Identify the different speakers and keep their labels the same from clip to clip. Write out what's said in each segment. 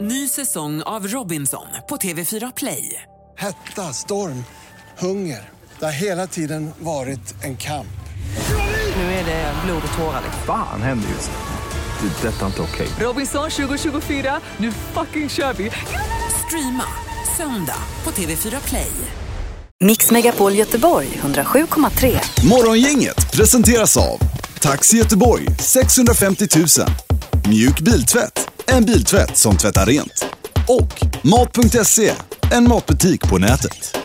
Speaker 1: Ny säsong av Robinson på TV4 Play.
Speaker 2: Hetta, storm, hunger. Det har hela tiden varit en kamp.
Speaker 1: Nu är det blod och tårar.
Speaker 3: Fan händer just nu. Det. är Detta är inte okej.
Speaker 1: Robinson 2024, nu fucking kör vi! Streama söndag på TV4 Play.
Speaker 4: Mix Megapol Göteborg 107,3.
Speaker 5: Morgongänget presenteras av Taxi Göteborg 650 000 Mjuk biltvätt, en biltvätt som tvättar rent. Och Mat.se, en matbutik på nätet.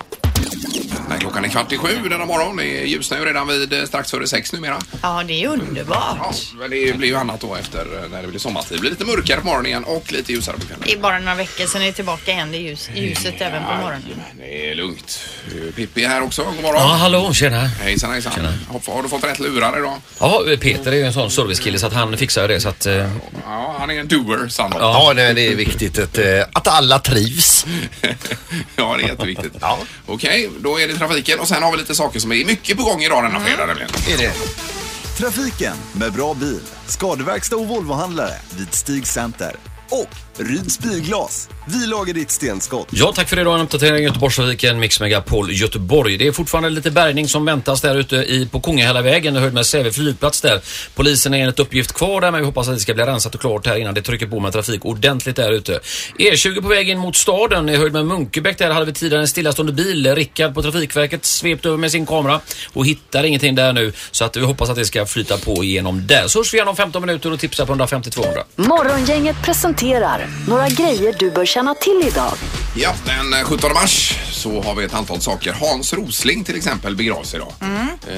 Speaker 6: Nej, klockan är kvart i sju denna morgon. Det är ljusnö redan vid eh, strax före sex numera.
Speaker 7: Ja, det är
Speaker 6: Ja,
Speaker 7: underbart.
Speaker 6: men det blir ju annat då efter eh, när det blir sommartid. Det blir lite mörkare på morgonen igen och lite ljusare på kvällen.
Speaker 7: Det är bara några veckor sedan ni är tillbaka igen. Det är ljus, ljuset även på morgonen.
Speaker 6: Jajamän, Det är lugnt. Eh, Pippi är här också. God morgon.
Speaker 8: Ja, hallå, tjena.
Speaker 6: Hejsan, hejsan. Hoppas- Har du fått rätt lurar idag?
Speaker 8: Ja, Peter är ju en sån servicekille så att han fixar ju det så att... eh,
Speaker 6: Ja, han är en doer, Sandholt. Ja.
Speaker 9: Ja, nej, det är viktigt att, eh, att alla trivs.
Speaker 6: det är jätteviktigt. ja. Okej, då är det trafiken och sen har vi lite saker som är mycket på gång idag denna fredag nämligen.
Speaker 9: Är det?
Speaker 5: Trafiken med bra bil, skadeverkstad och Volvohandlare vid Stig Center. Och Ryds Bilglas, vi lagar ditt stenskott.
Speaker 8: Ja, tack för idag. En uppdatering i Göteborgsfabriken, Mix Megapol Göteborg. Det är fortfarande lite bärgning som väntas där ute i, på Kungahällavägen, höjd med Säve flygplats där. Polisen är enligt uppgift kvar där, men vi hoppas att det ska bli rensat och klart här innan det trycker på med trafik ordentligt där ute. E20 på väg in mot staden, i höjd med Munkebäck där hade vi tidigare en stillastående bil. Rickard på Trafikverket svept över med sin kamera och hittar ingenting där nu. Så att vi hoppas att det ska flyta på igenom där. Så hörs vi igen om 15 minuter och tipsar på 150 200.
Speaker 4: Morgongänget presenterar några grejer du bör känna till idag.
Speaker 6: Ja, den eh, 17 mars så har vi ett antal saker. Hans Rosling till exempel begravs idag. Eh,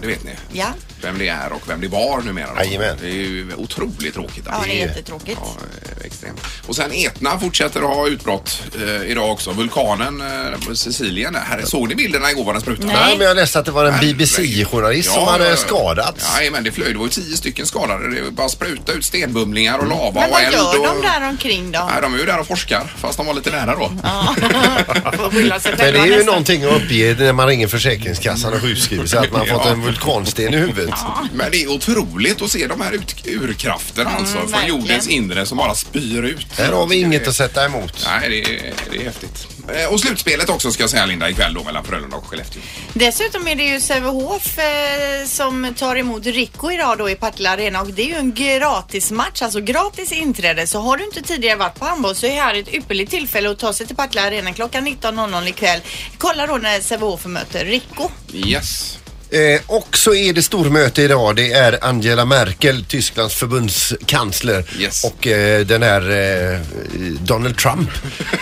Speaker 6: det vet ni.
Speaker 7: Mm. Ja.
Speaker 6: Vem det är och vem det var numera. då.
Speaker 9: Jajamän.
Speaker 6: Det är ju otroligt tråkigt.
Speaker 7: Ja,
Speaker 6: att-
Speaker 7: det är jättetråkigt.
Speaker 6: Ja, eh, extremt. Och sen Etna fortsätter att ha utbrott eh, idag också. Vulkanen eh, på Sicilien. där. Här, såg ni bilderna igår vad den sprutade?
Speaker 7: Nej.
Speaker 9: Nej, men jag läste att det var en BBC-journalist som hade skadats.
Speaker 6: Nej, men det flög. Det var ju tio stycken skadade. Det var bara spruta ut stenbumlingar
Speaker 9: Mm.
Speaker 6: och lava
Speaker 7: Men
Speaker 6: och
Speaker 7: vad
Speaker 6: eld.
Speaker 7: gör
Speaker 6: och...
Speaker 7: de där omkring då?
Speaker 6: Nej, de är ju där och forskar, fast de var lite nära då.
Speaker 7: Får skylla sig
Speaker 9: Men det
Speaker 7: själva
Speaker 9: är ju
Speaker 7: nästan.
Speaker 9: någonting att uppge när man ringer Försäkringskassan och sjukskriver sig att man fått en vulkansten i huvudet.
Speaker 6: Men det är otroligt att se de här ut- urkrafterna alltså, från
Speaker 7: Mm, verkligen.
Speaker 6: jordens inre som bara spyr ut.
Speaker 9: Här har vi inget att sätta emot.
Speaker 6: Nej, det är, det är häftigt. Eh, Och slutspelet också ska jag säga Linda ikväll då mellan Frölunda och Skellefteå.
Speaker 7: Dessutom är det ju Sävehof eh, som tar emot Rico idag då i Partille Arena och det är ju en gratismatch, alltså gratis inträde. Så har du inte tidigare varit på handboll så är här ett ypperligt tillfälle att ta sig till Partille Arena klockan 19.00 ikväll. Kolla då när Sävehof möter Rico.
Speaker 6: Yes.
Speaker 9: Eh, och så är det stormöte idag. Det är Angela Merkel, Tysklands förbundskansler
Speaker 6: Yes.
Speaker 9: och eh, den här eh, Donald Trump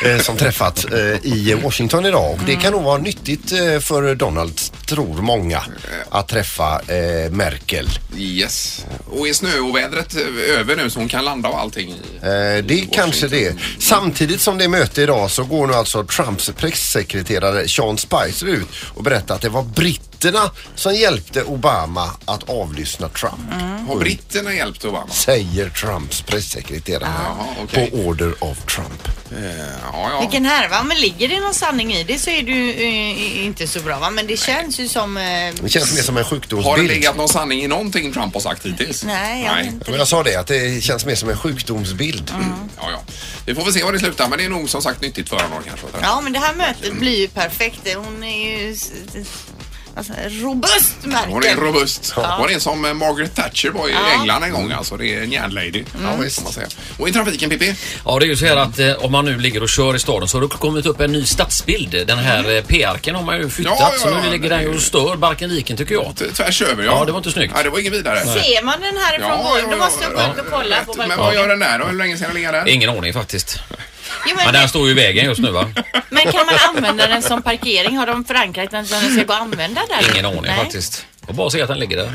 Speaker 9: eh, som träffats eh, i Washington idag. Och det kan nog vara nyttigt eh, för Donald, tror många, att träffa eh, Merkel.
Speaker 6: Yes. Och är snöovädret över nu så hon kan landa och allting? i-
Speaker 7: Mm.
Speaker 9: Eh, det är
Speaker 6: Washington.
Speaker 9: kanske det. Samtidigt som det är möte idag så går nu alltså Trumps pressekreterare Sean Spicer ut och berättar att det var britterna som hjälpte Obama att avlyssna Trump.
Speaker 6: Har britterna hjälpt Obama?
Speaker 9: säger Trumps pressekreterare
Speaker 6: Jaha, okej.
Speaker 9: på order av Trump.
Speaker 6: Eh, Ja, ja.
Speaker 7: Vilken härva, men ligger det någon sanning i det så är du eh, inte så bra va? Men det känns ju som... Eh,
Speaker 9: Det känns mer som en
Speaker 6: Har det
Speaker 9: sjukdomsbild.
Speaker 6: legat någon sanning i någonting Trump har sagt hittills?
Speaker 7: nej, jag vet inte.
Speaker 9: Men jag sa det, att det känns mer som en sjukdomsbild.
Speaker 6: Ja, ja. Vi får väl se var det slutar, men det är nog som sagt nyttigt för honom kanske.
Speaker 7: Ja, men det här mötet blir ju perfekt. Hon är ju... s- s- Alltså, robust Merkel.
Speaker 6: Hon är robust. Hon är som Margaret Thatcher var i England en
Speaker 7: Mm.
Speaker 6: gång alltså. Det är en järnlady. Ja, visst. Man säga. Och i trafiken Pippi?
Speaker 8: Ja, det är ju så här att eh, om man nu ligger och kör i staden så har det kommit upp en ny stadsbild. Den här
Speaker 10: Mm.
Speaker 8: eh, p-arken har man ju flyttat
Speaker 6: Ja, ja,
Speaker 8: så
Speaker 6: ja,
Speaker 8: nu ligger
Speaker 6: det-
Speaker 8: den ju och stör barken viken tycker
Speaker 10: Mm.
Speaker 8: jag.
Speaker 6: T- Tvärs över ja.
Speaker 8: Ja, det var inte snyggt.
Speaker 6: Ja, det var inget vidare.
Speaker 7: Ser man den härifrån
Speaker 6: Ja,
Speaker 7: ja,
Speaker 6: ja,
Speaker 7: då
Speaker 6: ja,
Speaker 7: måste jag gå
Speaker 6: ja,
Speaker 7: ut och kolla på
Speaker 6: Men vad
Speaker 7: balkongen.
Speaker 6: gör den där då? Hur länge ska den ligga där?
Speaker 8: Ingen aning faktiskt.
Speaker 7: Jo,
Speaker 8: Men
Speaker 7: men,
Speaker 8: den står ju i vägen just nu va?
Speaker 7: men kan man använda den som parkering? Har de förankrat den så den ska gå att använda där?
Speaker 8: Ingen aning
Speaker 7: Nej.
Speaker 8: faktiskt. Jag bara se att den ligger där.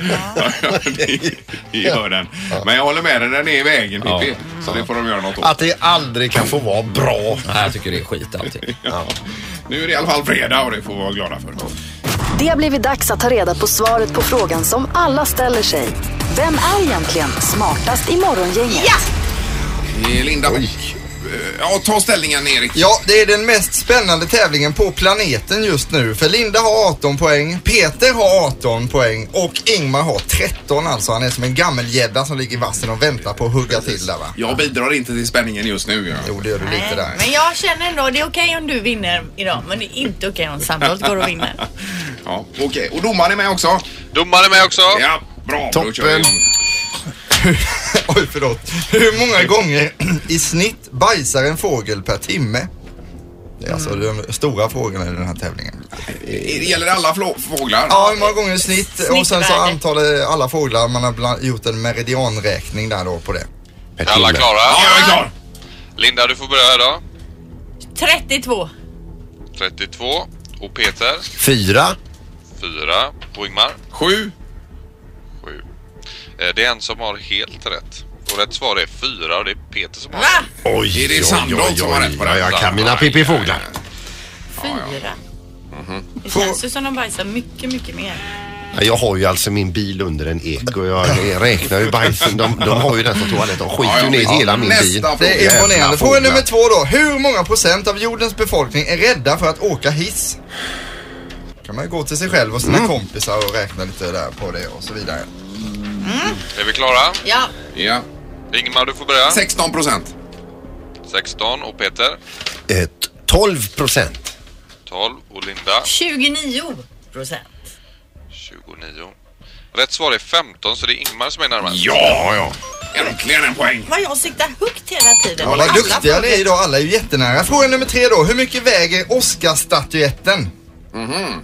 Speaker 6: det gör den. Men jag håller med dig, den är i vägen Pippi. Så det får de göra något åt.
Speaker 9: Att det aldrig kan få vara bra.
Speaker 8: Nej, jag tycker det är skit allting.
Speaker 6: Ja. Nu är det i alla fall fredag och det får vi vara glada för.
Speaker 4: Det har blivit dags att ta reda på svaret på frågan som alla ställer sig. Vem är egentligen smartast i morgongänget?
Speaker 6: Det är Linda och eh, ja, ta ställningen Erik.
Speaker 10: Ja, det är den mest spännande tävlingen på planeten just nu. För Linda har 18 poäng, Peter har 18 poäng och Ingmar har 13 alltså. Han är som en gammelgädda som ligger i vassen och väntar på att hugga till där va.
Speaker 6: Jag bidrar inte till spänningen just nu. Ja.
Speaker 10: Jo, det gör du lite där.
Speaker 7: Men jag känner ändå, det är okej om du vinner idag, men det är inte okej om Sandholt går och vinner.
Speaker 6: Ja, Okej, och domaren är med också.
Speaker 11: Domaren är med också.
Speaker 6: Ja, bra. Då kör vi igång.
Speaker 10: Oj, förlåt. Hur många gånger i snitt bajsar en fågel per timme? Det är alltså
Speaker 9: Mm.
Speaker 10: de stora frågorna i den här tävlingen.
Speaker 6: Det gäller alla flå- fåglar.
Speaker 10: Ja, hur många gånger i snitt? Och sen så
Speaker 7: Snittvärde.
Speaker 10: antalet alla fåglar, man har bland, gjort en meridianräkning där då på det.
Speaker 9: Per
Speaker 11: Är alla
Speaker 9: timme.
Speaker 11: klara?
Speaker 6: Ja, jag är klar.
Speaker 11: Linda, du får börja idag.
Speaker 7: 32.
Speaker 11: 32. Och Peter,
Speaker 9: Fyra.
Speaker 11: 4. Och Ingmar,
Speaker 6: Sju.
Speaker 11: 7. Det är en som har helt rätt. Och rätt svar är 4 och det är Peter som har
Speaker 7: Va?
Speaker 9: Oj,
Speaker 6: Är det
Speaker 9: oj,
Speaker 6: Sandholt
Speaker 9: oj,
Speaker 6: som
Speaker 9: oj.
Speaker 6: har rätt på
Speaker 9: Ja, jag
Speaker 6: detta?
Speaker 9: kan mina pippifåglar.
Speaker 7: Fyra. Det känns ju som de bajsar mycket, mycket mer.
Speaker 9: Ja, Jag har ju alltså min bil under en ek och jag räknar ju bajsen. De, de har ju den som toalett. De skiter
Speaker 6: Ja,
Speaker 9: ju
Speaker 6: ja,
Speaker 9: ner
Speaker 6: ja.
Speaker 9: hela min
Speaker 6: Nästa
Speaker 9: bil.
Speaker 6: fråga.
Speaker 10: Det är
Speaker 9: Jävla
Speaker 10: imponerande. Fråga
Speaker 9: fåglar.
Speaker 10: nummer två då. Hur många procent av jordens befolkning är rädda för att åka hiss? kan man ju gå till sig själv och sina kompisar och räkna lite där på det och så vidare.
Speaker 11: rätt. Är vi klara?
Speaker 7: Ja,
Speaker 6: Ja.
Speaker 11: Ingmar, du får börja.
Speaker 6: 16 procent.
Speaker 11: 16. Och Peter,
Speaker 9: Eh, t- 12 procent.
Speaker 11: 12. Och Linda,
Speaker 7: 29 procent.
Speaker 11: 29. Rätt svar är 15 så det är Ingmar som är närmast.
Speaker 6: Ja, ja. Äntligen en poäng.
Speaker 7: Vad jag siktar högt hela tiden.
Speaker 10: Ja, vad duktiga ni är idag. Alla är ju jättenära. Fråga nummer tre då. Hur mycket väger Oscarsstatyetten? Mm-hmm.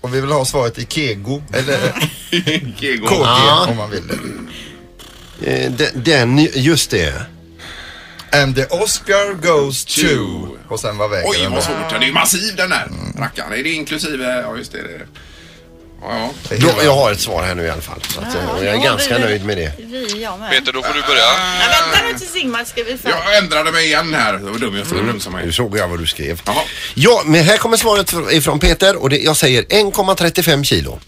Speaker 10: Och vi vill ha svaret i kego. Eller
Speaker 6: Kego.
Speaker 10: KG
Speaker 9: Ja.
Speaker 10: om man vill.
Speaker 9: Eh, de- Den, just det.
Speaker 10: And the Oscar goes to... Och sen vad väger
Speaker 6: Oj,
Speaker 10: den
Speaker 6: vad
Speaker 10: då?
Speaker 6: svårt. Den är ju massiv den där rackaren. Är det inklusive... Ja, just det. det. är- Ja, ja.
Speaker 10: Det är
Speaker 9: Då,
Speaker 10: hela-
Speaker 9: jag har ett svar här nu i alla fall. Så att, eh, och jag är ganska nöjd med det.
Speaker 7: Vi, jag med.
Speaker 11: Peter, då får du börja.
Speaker 7: Nej, vänta nu till Sigmar ska vi få.
Speaker 6: Jag ändrade mig igen här. Det var dum jag mm. som
Speaker 9: Nu
Speaker 6: mig.
Speaker 9: såg jag vad du skrev.
Speaker 6: Jaha.
Speaker 9: Ja, men här kommer svaret fr- ifrån Peter och det, jag säger 1,35 kilo.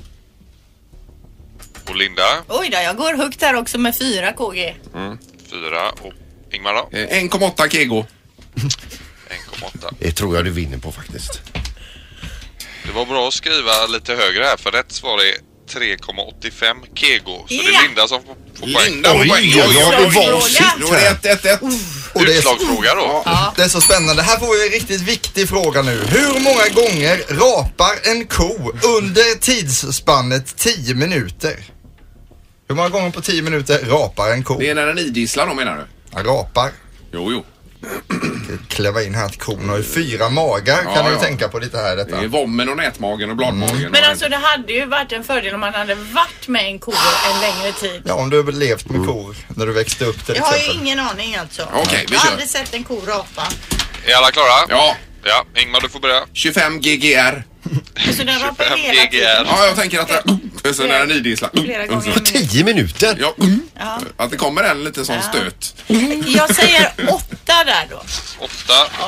Speaker 11: Och Linda,
Speaker 7: Oj då, jag går högt här också med 4 KG.
Speaker 11: 4. Och Ingmar då?
Speaker 6: Eh, 1,8 kego.
Speaker 11: 1,8.
Speaker 9: Det tror jag du vinner på faktiskt.
Speaker 11: Det var bra att skriva lite högre här för rätt svar är 3,85 kego. Så det
Speaker 7: Ja.
Speaker 11: är Linda som får får poäng.
Speaker 6: Linda får
Speaker 9: Oj,
Speaker 6: poäng.
Speaker 9: oj, oj, oj.
Speaker 6: Nu var det 1, 1, 1.
Speaker 10: Och det är så-
Speaker 11: Utslagsfråga då.
Speaker 10: Det är så spännande. Här får vi en riktigt viktig fråga nu. Hur många gånger rapar en ko under tidsspannet 10 minuter? Hur många gånger på 10 minuter rapar en ko?
Speaker 6: Det är när den idisslar då menar du?
Speaker 10: Ja, Rapar.
Speaker 6: Jo, jo.
Speaker 10: Kläva in här att kon har ju fyra magar.
Speaker 6: Ja,
Speaker 10: kan du
Speaker 6: ja.
Speaker 10: tänka på lite här
Speaker 6: Det
Speaker 10: detta.
Speaker 6: är vommen och nätmagen och bladmagen.
Speaker 7: Men
Speaker 6: och-
Speaker 7: alltså det hade ju varit en fördel om man hade varit med en ko en längre tid.
Speaker 10: Ja, om du har levt med kor när du växte upp till
Speaker 7: Jag har ju
Speaker 10: exempel.
Speaker 7: ingen aning alltså.
Speaker 6: Okej, vi
Speaker 7: jag har
Speaker 6: kör.
Speaker 7: aldrig sett en ko rapa.
Speaker 11: Är alla klara?
Speaker 6: Ja,
Speaker 11: Ja, Ingmar du får börja.
Speaker 6: 25 GGR.
Speaker 7: Så Alltså, den rapar
Speaker 11: 25
Speaker 7: hela tiden.
Speaker 11: GGR.
Speaker 6: Ja, jag tänker att det... Sen är den idisslar. Mm.
Speaker 7: Flera gånger.
Speaker 9: På 10 minuter?
Speaker 6: Ja, att det kommer en liten sån stöt.
Speaker 7: Jag säger åtta där då.
Speaker 11: 8.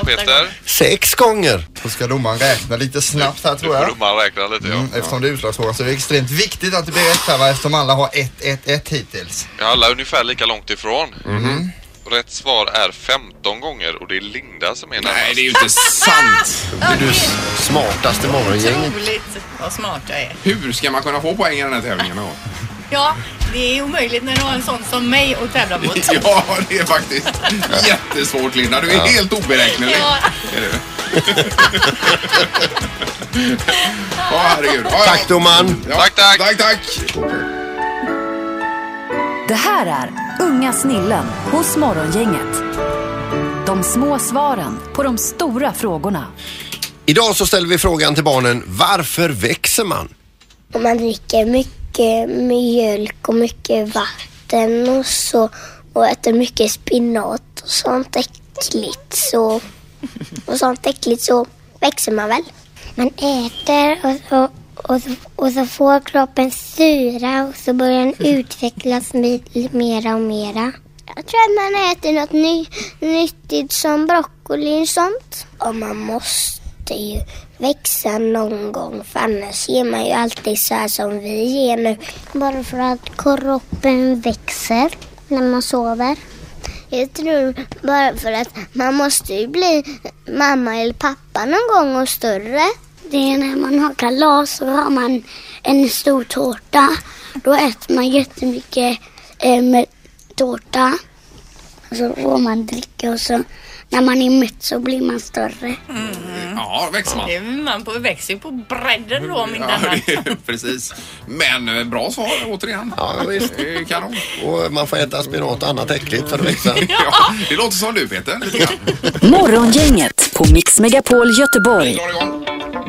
Speaker 11: Och Peter,
Speaker 9: Sex gånger.
Speaker 10: Så ska domaren räkna lite snabbt här
Speaker 11: du
Speaker 10: tror
Speaker 11: får
Speaker 10: jag.
Speaker 11: domaren räkna lite. Ja.
Speaker 10: Mm, eftersom det är utslagsfråga så är det extremt viktigt att det blir rätt här va? eftersom alla har 1-1-1 hittills.
Speaker 11: Ja, Alla är ungefär lika långt ifrån. Rätt svar är 15 gånger och det är Linda som är
Speaker 6: Nej,
Speaker 11: närmast.
Speaker 6: det är ju inte sant.
Speaker 7: Ja,
Speaker 9: Du
Speaker 7: det
Speaker 9: s-
Speaker 7: är
Speaker 9: smartaste morgongänget.
Speaker 7: otroligt vad smart jag är.
Speaker 6: Hur ska man kunna få poäng i den här tävlingen då?
Speaker 7: Ja, det är omöjligt när du har en sån som mig att tävla mot.
Speaker 6: Ja, det är faktiskt jättesvårt Linda. Du är helt oberäknelig.
Speaker 7: Ja,
Speaker 6: Är du? Ja, herregud. Ja, ja.
Speaker 9: Tack domaren.
Speaker 6: Ja,
Speaker 11: Tack, tack.
Speaker 6: Tack, tack.
Speaker 7: Mm.
Speaker 12: Det här är Unga snillen hos Morgongänget. De små svaren på de stora frågorna.
Speaker 9: Idag så ställer vi frågan till barnen. Varför växer man?
Speaker 12: Om man dricker mycket mjölk och mycket vatten och så och äter mycket spinat och sånt äckligt så, och sånt äckligt så växer man väl. Man äter och, och, och, och så får kroppen syra och så börjar den utvecklas mi- mera och mera. Jag tror att man äter något ny, nyttigt som broccoli och sånt. Och man måste ju växa någon gång för annars är man ju alltid så här som vi är nu. Bara för att kroppen växer när man sover. Jag tror bara för att man måste ju bli mamma eller pappa någon gång och större. Det är när man har kalas så har man en stor tårta. Då äter man jättemycket eh, med tårta. Och så får man dricka och så när man är mätt så blir man större.
Speaker 6: Ja, växer man.
Speaker 7: Det är man på, växer ju på bredden då min
Speaker 6: Ja,
Speaker 7: gamla.
Speaker 6: det är- precis. Men eh, bra svar återigen.
Speaker 9: Ja, visst.
Speaker 6: Det är Kanon.
Speaker 9: Och man får äta spirat och annat äckligt för att växa.
Speaker 6: Ja, det låter som du Peter. lite grann.
Speaker 13: Morgongänget på Mix Megapol Göteborg.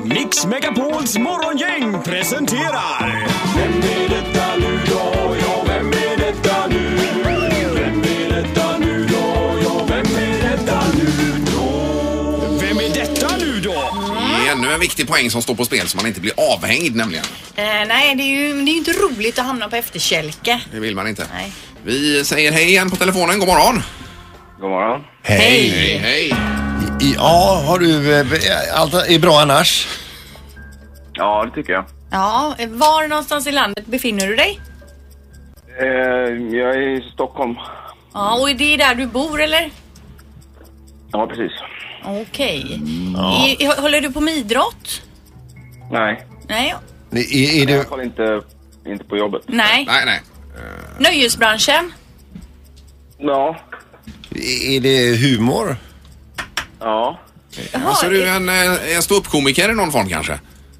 Speaker 14: Mix Megapols morgongäng presenterar... Vem är detta nu då? Ja, vem är detta nu? Vem är detta nu då? Ja, vem är detta nu då? Vem är detta nu då?
Speaker 6: Det är ännu en viktig poäng som står på spel så man inte blir avhängd nämligen.
Speaker 7: Eh, nej, det är ju det är ju inte roligt att hamna på efterkälke.
Speaker 6: Det vill man inte. Vi säger hej igen på telefonen. God morgon.
Speaker 15: God morgon.
Speaker 9: Hej.
Speaker 6: Hej, hej.
Speaker 9: I- Ja, har du... eh, Allt är bra annars?
Speaker 15: Ja, det tycker jag.
Speaker 7: Ja, eh, var någonstans i landet befinner du dig?
Speaker 15: Eh, jag är i Stockholm.
Speaker 7: Ja, och är det där du bor eller?
Speaker 15: Ja, precis.
Speaker 7: Okej.
Speaker 15: Ja.
Speaker 7: I- i- Håller du på med idrott?
Speaker 15: Nej.
Speaker 7: Nej.
Speaker 9: Är,
Speaker 15: du... Jag kollar inte, inte på jobbet.
Speaker 7: Nej.
Speaker 6: Nej, nej.
Speaker 7: Nöjesbranschen?
Speaker 15: Ja.
Speaker 9: I- Är det humor?
Speaker 15: Ja.
Speaker 6: Alltså du är en, eh, en ståuppkomiker i någon form kanske?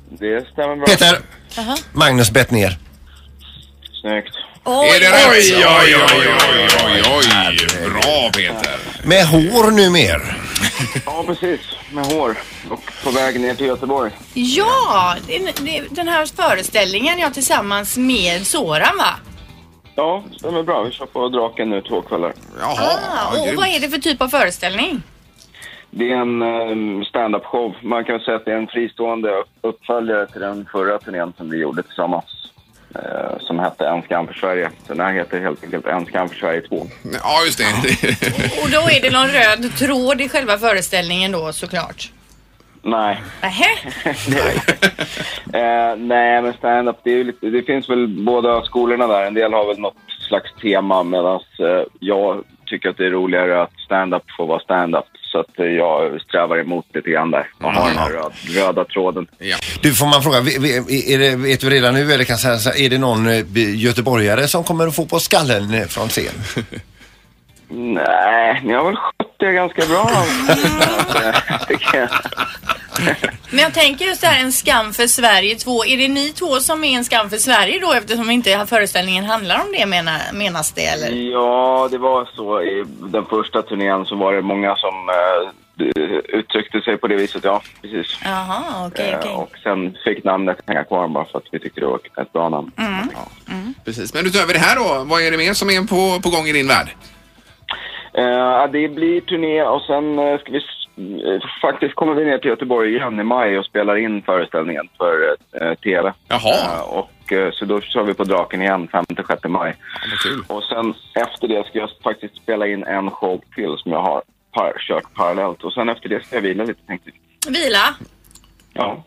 Speaker 15: Det stämmer bra.
Speaker 9: Peter! Magnus bett ner.
Speaker 15: Snyggt.
Speaker 6: Är det rätt? Oj, oj, oj, oj, oj, oj. Bra Peter.
Speaker 9: Med hår numer.
Speaker 15: Ja, precis. Med hår. Och på väg ner till Göteborg.
Speaker 7: Ja, det- det- den här föreställningen jag tillsammans med Soran va?
Speaker 15: Ja, det stämmer bra. Vi kör på Draken nu två kvällar.
Speaker 6: Jaha.
Speaker 7: Ja, och vad är det för typ av föreställning?
Speaker 15: Det är en um, stand-up show. Man kan väl säga att det är en fristående uppföljare till den förra turnén som vi gjorde tillsammans. eh, som hette En skam för Sverige. Den här heter helt enkelt En skam för Sverige 2.
Speaker 6: Ja, just det.
Speaker 7: Och då är det någon röd tråd i själva föreställningen då såklart.
Speaker 15: Nej.
Speaker 7: Nähä?
Speaker 15: Eh, nej, men stand-up, det, är ju lite- det finns väl båda skolorna där. En del har väl något slags tema medan eh, jag tycker att det är roligare att stand-up får vara stand-up. Så att eh, jag strävar emot lite grann där och har den här röd, röda tråden.
Speaker 9: Du, får man fråga, vi- vi- är det, vet du redan nu eller kan jag säga så här, är det någon eh, göteborgare som kommer att få på skallen eh, från scen?
Speaker 15: Nej, ni har väl skött det ganska bra. Tycker jag.
Speaker 7: Men jag tänker just det här en skam för Sverige 2. Är det ni två som är en skam för Sverige då eftersom inte föreställningen handlar om det menar, menas det eller?
Speaker 15: Ja, det var så. I den första turnén så var det många som eh, uttryckte sig på det viset, ja. Precis.
Speaker 7: Jaha, okej
Speaker 15: Eh,
Speaker 7: okej.
Speaker 15: Och sen fick namnet hänga kvar bara för att vi tyckte det var ett bra namn.
Speaker 7: Mm.
Speaker 6: Precis. Men utöver det här då, vad är det mer som är på, på gång i din värld?
Speaker 15: Eh, ja, det blir turné och sen eh, ska vi s- eh, faktiskt kommer vi ner till Göteborg igen i maj och spelar in föreställningen för eh, TV.
Speaker 6: Jaha.
Speaker 15: och, eh, så då kör vi på Draken igen 5-6 maj. Och sen efter det ska jag faktiskt spela in en show till som jag har par- kört parallellt och sen efter det ska jag vila lite tänkte jag.
Speaker 7: Vila?
Speaker 15: Ja.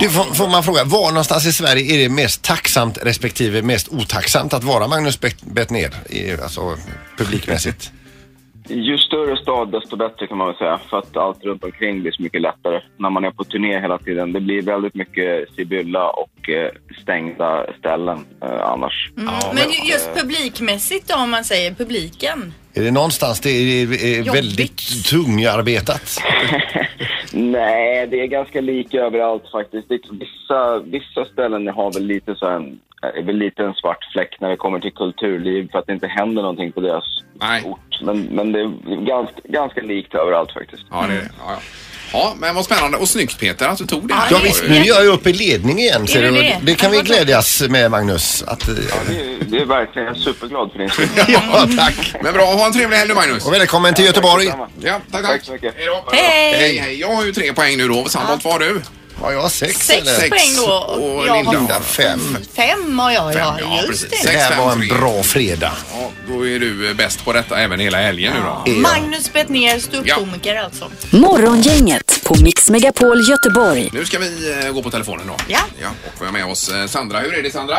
Speaker 9: Du, får, får man fråga, var någonstans i Sverige är det mest tacksamt respektive mest otacksamt att vara Magnus Bet- bett ner? I- Alltså publikmässigt.
Speaker 15: Ju större stad desto bättre kan man väl säga för att allt runt omkring blir så mycket lättare när man är på turné hela tiden. Det blir väldigt mycket sibylla och eh, stängda ställen eh, annars.
Speaker 7: Mm. Men ju-
Speaker 6: eh,
Speaker 7: just publikmässigt då om man säger publiken?
Speaker 9: Är det någonstans det är, är
Speaker 7: Jobbigt.
Speaker 9: väldigt tungarbetat?
Speaker 15: Nej, det är ganska lika överallt faktiskt. Det- Vissa, vissa ställen har väl lite så här en, är väl lite en svart fläck när det kommer till kulturliv för att det inte händer någonting på deras ort. Men, men det är ganska, ganska likt överallt faktiskt.
Speaker 6: Ja, det är det. Ja, ja. ja, men vad spännande och snyggt Peter att du tog det. här.
Speaker 9: Ja, visst, nu är jag ju uppe i ledning igen. ser
Speaker 6: Är du
Speaker 9: du.
Speaker 6: det?
Speaker 9: det kan vi
Speaker 6: Ja, vad bra.
Speaker 9: glädjas med Magnus. Att, eh,
Speaker 15: Det är verkligen, jag är superglad för din skull.
Speaker 9: ja, tack.
Speaker 6: Men bra, ha en trevlig helg nu Magnus.
Speaker 9: Och välkommen till Göteborg.
Speaker 6: Ja, tack, tack. Hej då.
Speaker 7: Hej.
Speaker 6: hej, hej. Jag har ju tre poäng nu då. Sandholt, vad har du?
Speaker 9: Har jag sex,
Speaker 7: Sex eller? poäng då, och
Speaker 6: Och
Speaker 7: jag har-
Speaker 6: Linda
Speaker 9: fem.
Speaker 7: Fem har jag ja,
Speaker 6: ja,
Speaker 7: just
Speaker 6: precis.
Speaker 7: det.
Speaker 9: Det här var en bra fredag.
Speaker 6: Ja, då är du eh, bäst på detta även hela helgen nu då.
Speaker 7: Magnus Betnér, ståuppkomiker alltså.
Speaker 13: Morgongänget på Mix Megapol Göteborg.
Speaker 6: Nu ska vi eh, gå på telefonen då.
Speaker 16: Ja.
Speaker 6: ja och vi har med oss eh, Sandra. Hur är det Sandra?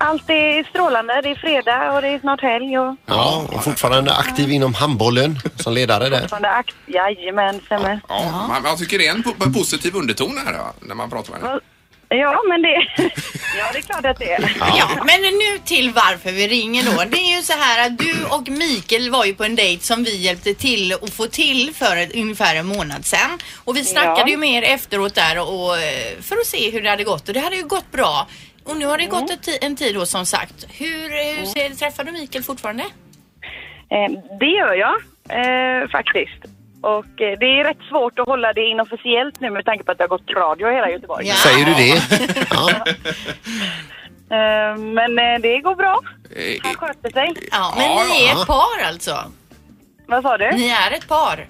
Speaker 16: Allt är strålande. Det är fredag och det är snart helg. Och...
Speaker 9: Ja, och fortfarande aktiv inom handbollen som ledare där.
Speaker 16: Fortfarande akt... Jajamän, stämmer.
Speaker 6: Ja, Man, man tycker det är en po positiv underton här va, när man pratar med henne.
Speaker 16: Ja, men det... ja, det är klart att det är.
Speaker 7: Ja, men nu till varför vi ringer då. Det är ju så här att du och Mikael var ju på en dejt som vi hjälpte till att få till för ett, ungefär en månad sedan. Och vi snackade
Speaker 16: Ja.
Speaker 7: ju med er efteråt där och, och, eh, för att se hur det hade gått och det hade ju gått bra. Och nu har det gått ett ti- en tid då som sagt. Hur, eh, hur ser, träffar du Mikael fortfarande?
Speaker 16: Eh, Det gör jag eh, faktiskt. Och eh, det är rätt svårt att hålla det inofficiellt nu med tanke på att det har gått radio i hela Göteborg.
Speaker 9: Säger du det?
Speaker 16: Eh, Men eh, det går bra.
Speaker 6: Eh,
Speaker 16: Han sköter sig.
Speaker 7: Ja, men ni är ett par alltså?
Speaker 16: Vad sa
Speaker 6: Mm.
Speaker 16: du? Eh,
Speaker 7: Ni är ett par.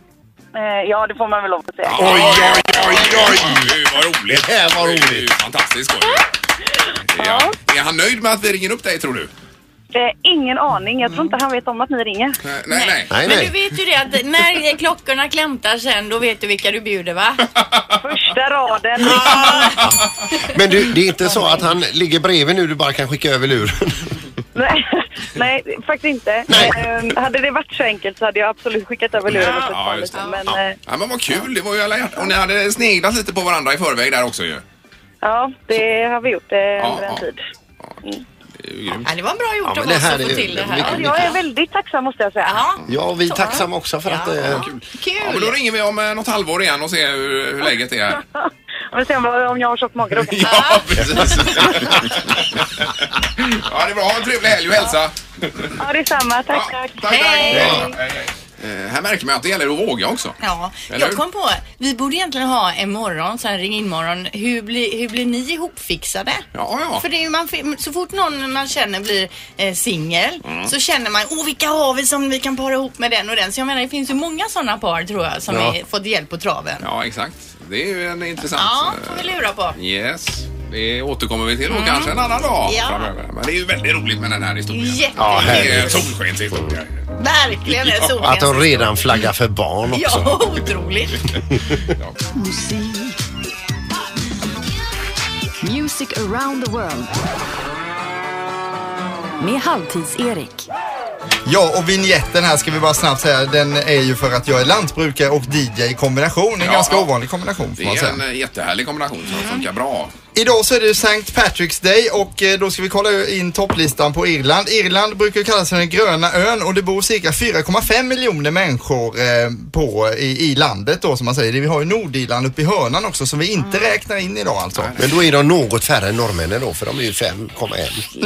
Speaker 16: Ja, det får man väl lov att säga.
Speaker 6: Oj, oj, oj, oj! Gud, vad roligt! Det här var roligt! Fantastiskt skoj! Ja. Är han nöjd med att vi ringer upp dig tror du?
Speaker 16: Eh, Ingen aning. Jag tror inte han vet om att ni ringer.
Speaker 6: Nej, nej.
Speaker 9: Nej,
Speaker 7: Men du vet ju det att när klockorna klämtar sen då vet du vilka du bjuder va?
Speaker 16: Första raden.
Speaker 9: Men du, det är inte så att han ligger bredvid nu, du bara kan skicka över luren?
Speaker 16: Nej, nej, faktiskt inte. Eh, Hade det varit så enkelt så hade jag absolut skickat över luren och sett
Speaker 6: Ja,
Speaker 16: på
Speaker 6: just det.
Speaker 16: lite. Men eh,
Speaker 6: Ja, men vad kul, det var ju alla hjärtan. Och ni hade sneglat lite på varandra i förväg där också ju.
Speaker 16: ja, det har vi gjort eh,
Speaker 6: Ja,
Speaker 16: under en
Speaker 6: ja.
Speaker 16: tid.
Speaker 6: Det är ju grymt.
Speaker 7: Ja, det var bra gjort
Speaker 9: Ja,
Speaker 7: av
Speaker 9: men det
Speaker 7: oss
Speaker 9: här
Speaker 7: att få
Speaker 9: är-
Speaker 7: till det
Speaker 9: mycket-
Speaker 7: här.
Speaker 9: Ja, jag
Speaker 16: Jag är väldigt tacksam måste jag säga.
Speaker 9: Ja, vi är tacksamma också för att eh,
Speaker 7: Kul!
Speaker 6: Ja, men då ringer vi om eh, något halvår igen och ser hur, hur läget är.
Speaker 16: Vi får se om- om jag har tjock mage då.
Speaker 6: Ja, precis. ja, det är bra. Ha en trevlig helg och hälsa.
Speaker 16: Ja, detsamma. Tack, tack.
Speaker 6: Hej. Eh, Här märker man att det gäller att våga också.
Speaker 7: Ja,
Speaker 6: Eller
Speaker 7: jag
Speaker 6: hur?
Speaker 7: kom på, vi borde egentligen ha en morgon, så här ring in morgon. Hur, blir hur blir ni ihopfixade?
Speaker 6: Ja, ja.
Speaker 7: För det är ju man, så fort någon man känner blir eh, singel
Speaker 6: Mm.
Speaker 7: så känner man, åh vilka har vi som vi kan para ihop med den och den. Så jag menar det finns ju många sådana par tror jag som
Speaker 6: Ja.
Speaker 7: är, fått hjälp på traven.
Speaker 6: Ja, exakt. Det är ju en intressant...
Speaker 7: Ja,
Speaker 9: Alltså,
Speaker 7: får vi lura på.
Speaker 6: eh, Yes. Det återkommer vi till då kanske en annan dag
Speaker 7: Ja.
Speaker 6: framöver. Men det är ju väldigt roligt med den här historien.
Speaker 7: Jätteroligt.
Speaker 9: Ja,
Speaker 6: det är en
Speaker 9: härligt.
Speaker 6: solskenshistoria.
Speaker 7: Verkligen är det
Speaker 9: att de
Speaker 7: solsken.
Speaker 9: redan flaggar för barn
Speaker 7: Ja,
Speaker 9: också.
Speaker 7: otroligt.
Speaker 13: Music around the world. Med Halvtids-Erik.
Speaker 10: Ja, och vignetten här ska vi bara snabbt säga, den är ju för att jag är lantbrukare och DJ i kombination. En
Speaker 6: Ja.
Speaker 10: ganska ovanlig kombination får
Speaker 6: Det
Speaker 10: man
Speaker 6: är
Speaker 10: säga.
Speaker 6: en eh, jättehärlig kombination som
Speaker 7: Mm.
Speaker 6: funkar bra.
Speaker 10: Idag så är det St. Patrick's Day och eh, då ska vi kolla in topplistan på Irland. Irland brukar kallas för den gröna ön och det bor cirka 4,5 miljoner människor eh, på, i, i landet då som man säger. Vi har ju Nordirland uppe i hörnan också som vi inte räknar in idag alltså.
Speaker 9: Men då är de något färre än norrmännen då, för de är ju 5,1.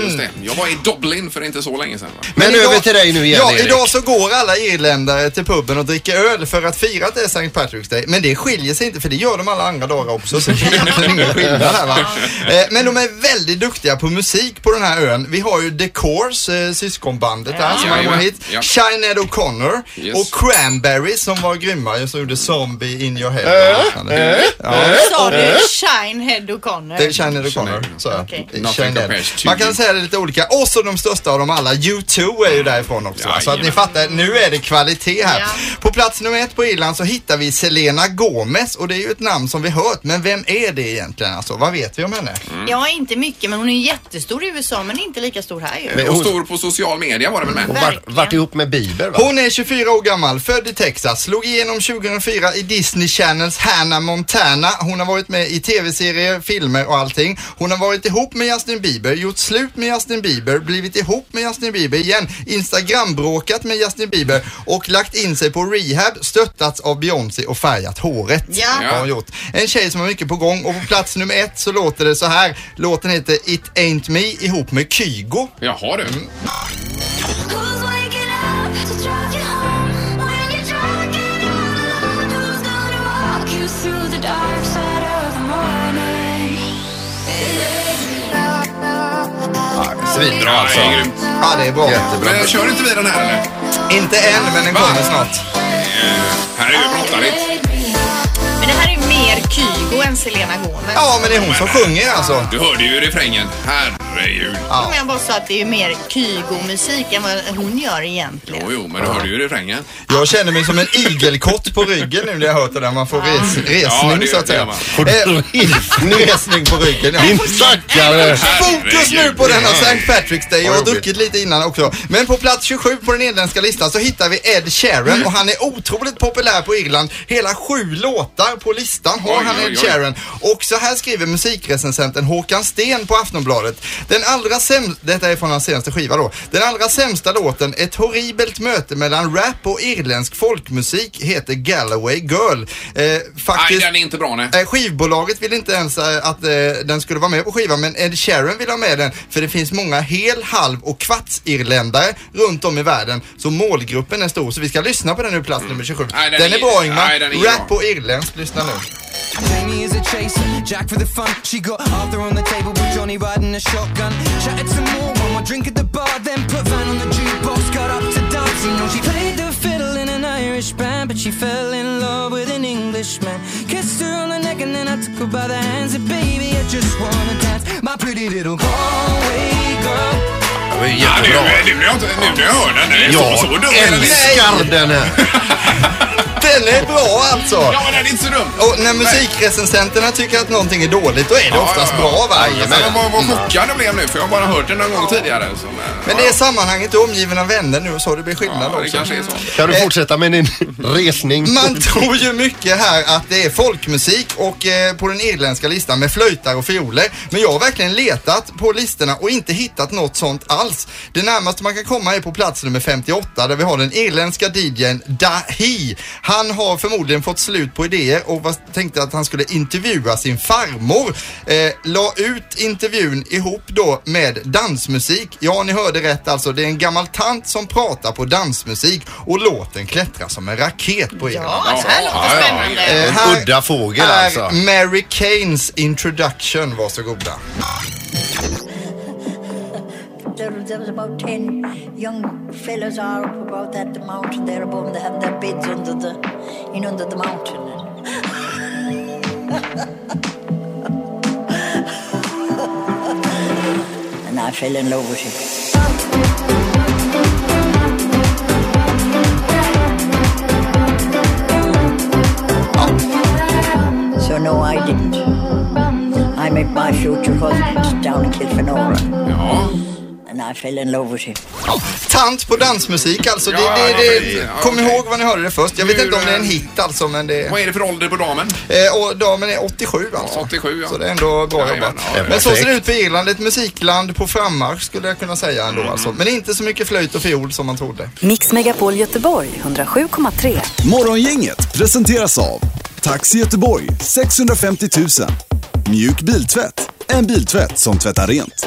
Speaker 6: Just det. Jag var i Dublin för inte så länge sedan. Va?
Speaker 9: Men, över till dig nu igen
Speaker 10: Ja,
Speaker 9: Erik.
Speaker 10: idag så går alla irländare till puben och dricker öl för att fira att det är St. Patrick's Day. Men det skiljer sig inte för det gör de alla andra dagar också så det är egentligen ingen skillnad här va. Eh, Men de är väldigt duktiga på musik på den här ön. Vi har ju The Coors, eh, syskonbandet där som
Speaker 6: Ja,
Speaker 10: har
Speaker 6: jajamän.
Speaker 10: kommit Alltså, hit.
Speaker 6: Ja.
Speaker 10: Shine Ed O'Connor
Speaker 6: Yes.
Speaker 10: och Cranberries som var grymma ju som gjorde Zombie In Your Head och liknande. Ja.
Speaker 7: Sa
Speaker 10: Och-
Speaker 7: du Shine Head O'Connor?
Speaker 10: Eh? det är Shine O'Connor, sa jag.
Speaker 7: Okej.
Speaker 6: Nothing
Speaker 10: Shine Ed.
Speaker 6: compares to
Speaker 10: Man kan
Speaker 6: you.
Speaker 10: säga det lite olika. Och så de största av dem alla, U2 är ju därifrån också. så att ni
Speaker 6: Jajamän.
Speaker 10: fattar, nu är det kvalitet här. På plats nummer ett på Irland så hittar vi Selena Gomez och det är ju ett namn som vi hört, men vem är det egentligen alltså? Vad vet vi om henne?
Speaker 7: Ja, inte mycket, men hon är jättestor i USA men inte lika stor här ju.
Speaker 6: Men och stor på social media var det väl med?
Speaker 9: Och var, vart ihop med Bieber va?
Speaker 10: Hon är 24 år gammal, född i Texas, slog igenom 2004 i Disney Channels Hannah Montana. Hon har varit med i tv-serier, filmer och allting. Hon har varit ihop med Justin Bieber, gjort slut med Justin Bieber, blivit ihop med Justin Bieber igen, Instagram-bråkat med Justin Bieber och lagt in sig på rehab, stöttats av Beyoncé och färgat håret.
Speaker 7: Ja.
Speaker 10: Har hon gjort. En tjej som har mycket på gång och på plats nummer ett så låter det så här. Låten heter It Ain't Me ihop med Kygo.
Speaker 6: Jaha du.
Speaker 7: Mm.
Speaker 9: Svinbra
Speaker 6: Ja,
Speaker 9: alltså.
Speaker 6: det är grymt.
Speaker 10: Ja, det är bra.
Speaker 6: Men kör inte vi den här eller?
Speaker 10: Inte än, men den kommer snart.
Speaker 6: Eh, Här är ju brottarigt.
Speaker 7: Men det här är mer Kygo än än Selena Gomez.
Speaker 10: Ja, men det är hon som sjunger alltså.
Speaker 6: Du hörde ju refrängen. Herregud.
Speaker 7: Men jag bara sa att det är ju mer Kygo-musik än vad hon gör egentligen.
Speaker 6: Jo, jo, men du hörde ju refrängen.
Speaker 10: Jag känner mig som en igelkott på ryggen nu när jag hört det där. Man får res,
Speaker 6: Ja, det
Speaker 10: resning
Speaker 6: gör
Speaker 10: så att säga.
Speaker 6: man.
Speaker 10: Får du resning på ryggen? Ja.
Speaker 9: Din stackare!
Speaker 10: Fokus nu på denna St. Patrick's Day. Jag har druckit lite innan också. Men på plats 27 på den nederländska listan så hittar vi Ed
Speaker 17: Mm.
Speaker 10: Sheeran och han är otroligt populär på Irland. Hela sju låtar på listan har
Speaker 17: Oj,
Speaker 10: han
Speaker 17: oj,
Speaker 10: Ed
Speaker 17: oj.
Speaker 10: Sheeran. Och så här skriver musikrecensenten Håkan Sten på Aftonbladet. Den allra sämsta, detta är från hans senaste skiva då. Den allra sämsta låten, ett horribelt möte mellan rap och irländsk folkmusik, heter Galloway Girl. Eh,
Speaker 6: Nej,
Speaker 10: faktiskt,
Speaker 6: den är inte bra nej.
Speaker 10: Eh, Skivbolaget ville inte ens eh, att eh, den skulle vara med på skivan men Ed Sheeran vill ha med den för det finns många hel, halv och kvartsirländare runt om i världen så målgruppen är stor så vi ska lyssna på den nu, plats nummer 27.
Speaker 6: Nej, den
Speaker 10: den,
Speaker 6: är-
Speaker 10: är bra Ingmar.
Speaker 6: nej, den är
Speaker 10: Rap och irländskt, lyssna nu.
Speaker 18: Jamie is a chaser, Jack for the fun. She got Arthur on the table with Johnny riding a shotgun. Chatted some more, one more drink at the bar, then put Van on the jukebox, got up to dancing. No, she played the fiddle in an Irish band, but she fell in love with an Englishman. Kissed her on the neck and then I took her by the hands. And baby, I just wanna dance, my pretty little Galway girl.
Speaker 9: Det var ju
Speaker 6: Ja, nu,
Speaker 9: jättebra.
Speaker 6: nu, nu, nu, nu, nu hör den. Den är
Speaker 9: Jag
Speaker 6: så, så dum.
Speaker 9: älskar den här.
Speaker 10: Den är bra alltså!
Speaker 6: Ja, men den är inte så dum.
Speaker 10: Och när musikrecensenterna tycker att någonting är dåligt då är det oftast bra va?
Speaker 6: Jajamän. Jag var, var chockad jag blev nu för jag har bara hört den någon gång tidigare. Så, men,
Speaker 10: Men det är sammanhanget, du är omgiven av vänner nu så det blir skillnad också.
Speaker 9: Kan du fortsätta med din resning?
Speaker 10: Eh. Man tror ju mycket här att det är folkmusik och eh, på den irländska listan med flöjtar och fioler. Men jag har verkligen letat på listorna och inte hittat något sånt alls. Det närmaste man kan komma är på plats nummer 58 där vi har den irländska DJn Dahi. Han har förmodligen fått slut på idéer och var, tänkte att han skulle intervjua sin farmor. Eh, la ut intervjun ihop då med dansmusik. Ja, ni hörde rätt alltså. Det är en gammal tant som pratar på dansmusik och låten klättrar som en raket på Irland.
Speaker 7: så här låter
Speaker 9: Ja, ja,
Speaker 7: spännande.
Speaker 9: ja.
Speaker 10: Eh, här
Speaker 9: En udda fågel
Speaker 10: är
Speaker 9: alltså.
Speaker 10: Mary Keynes introduction, varsågoda.
Speaker 19: There, there was about ten young fellas are up about that mountain there above, and they had their beds under the, in under the mountain.
Speaker 20: And I fell in love with him.
Speaker 19: So no, I didn't. I met my future husband down in Kilfenora. And I fell in love with him.
Speaker 10: Tant på dansmusik alltså. Det,
Speaker 19: Ja,
Speaker 10: det,
Speaker 19: ja,
Speaker 10: det,
Speaker 19: ja,
Speaker 10: kom ihåg vad ni hörde det först. Jag vet inte om det är en hit alltså men det...
Speaker 6: eh, Vad är det för ålder på damen?
Speaker 10: Eh, och damen är 87 alltså.
Speaker 6: 87 ja.
Speaker 10: Så det är ändå bra
Speaker 6: Jajamän,
Speaker 10: jobbat.
Speaker 6: ja, det är
Speaker 10: Men så
Speaker 6: perfekt.
Speaker 10: ser det ut för Irland. Ett musikland på frammarsch skulle jag kunna säga ändå alltså. Men inte så mycket flöjt och fiol som man trodde.
Speaker 13: Mix Megapol Göteborg 107,3.
Speaker 5: Morgongänget presenteras av Taxi Göteborg 650 000 Mjuk biltvätt, en biltvätt som tvättar rent.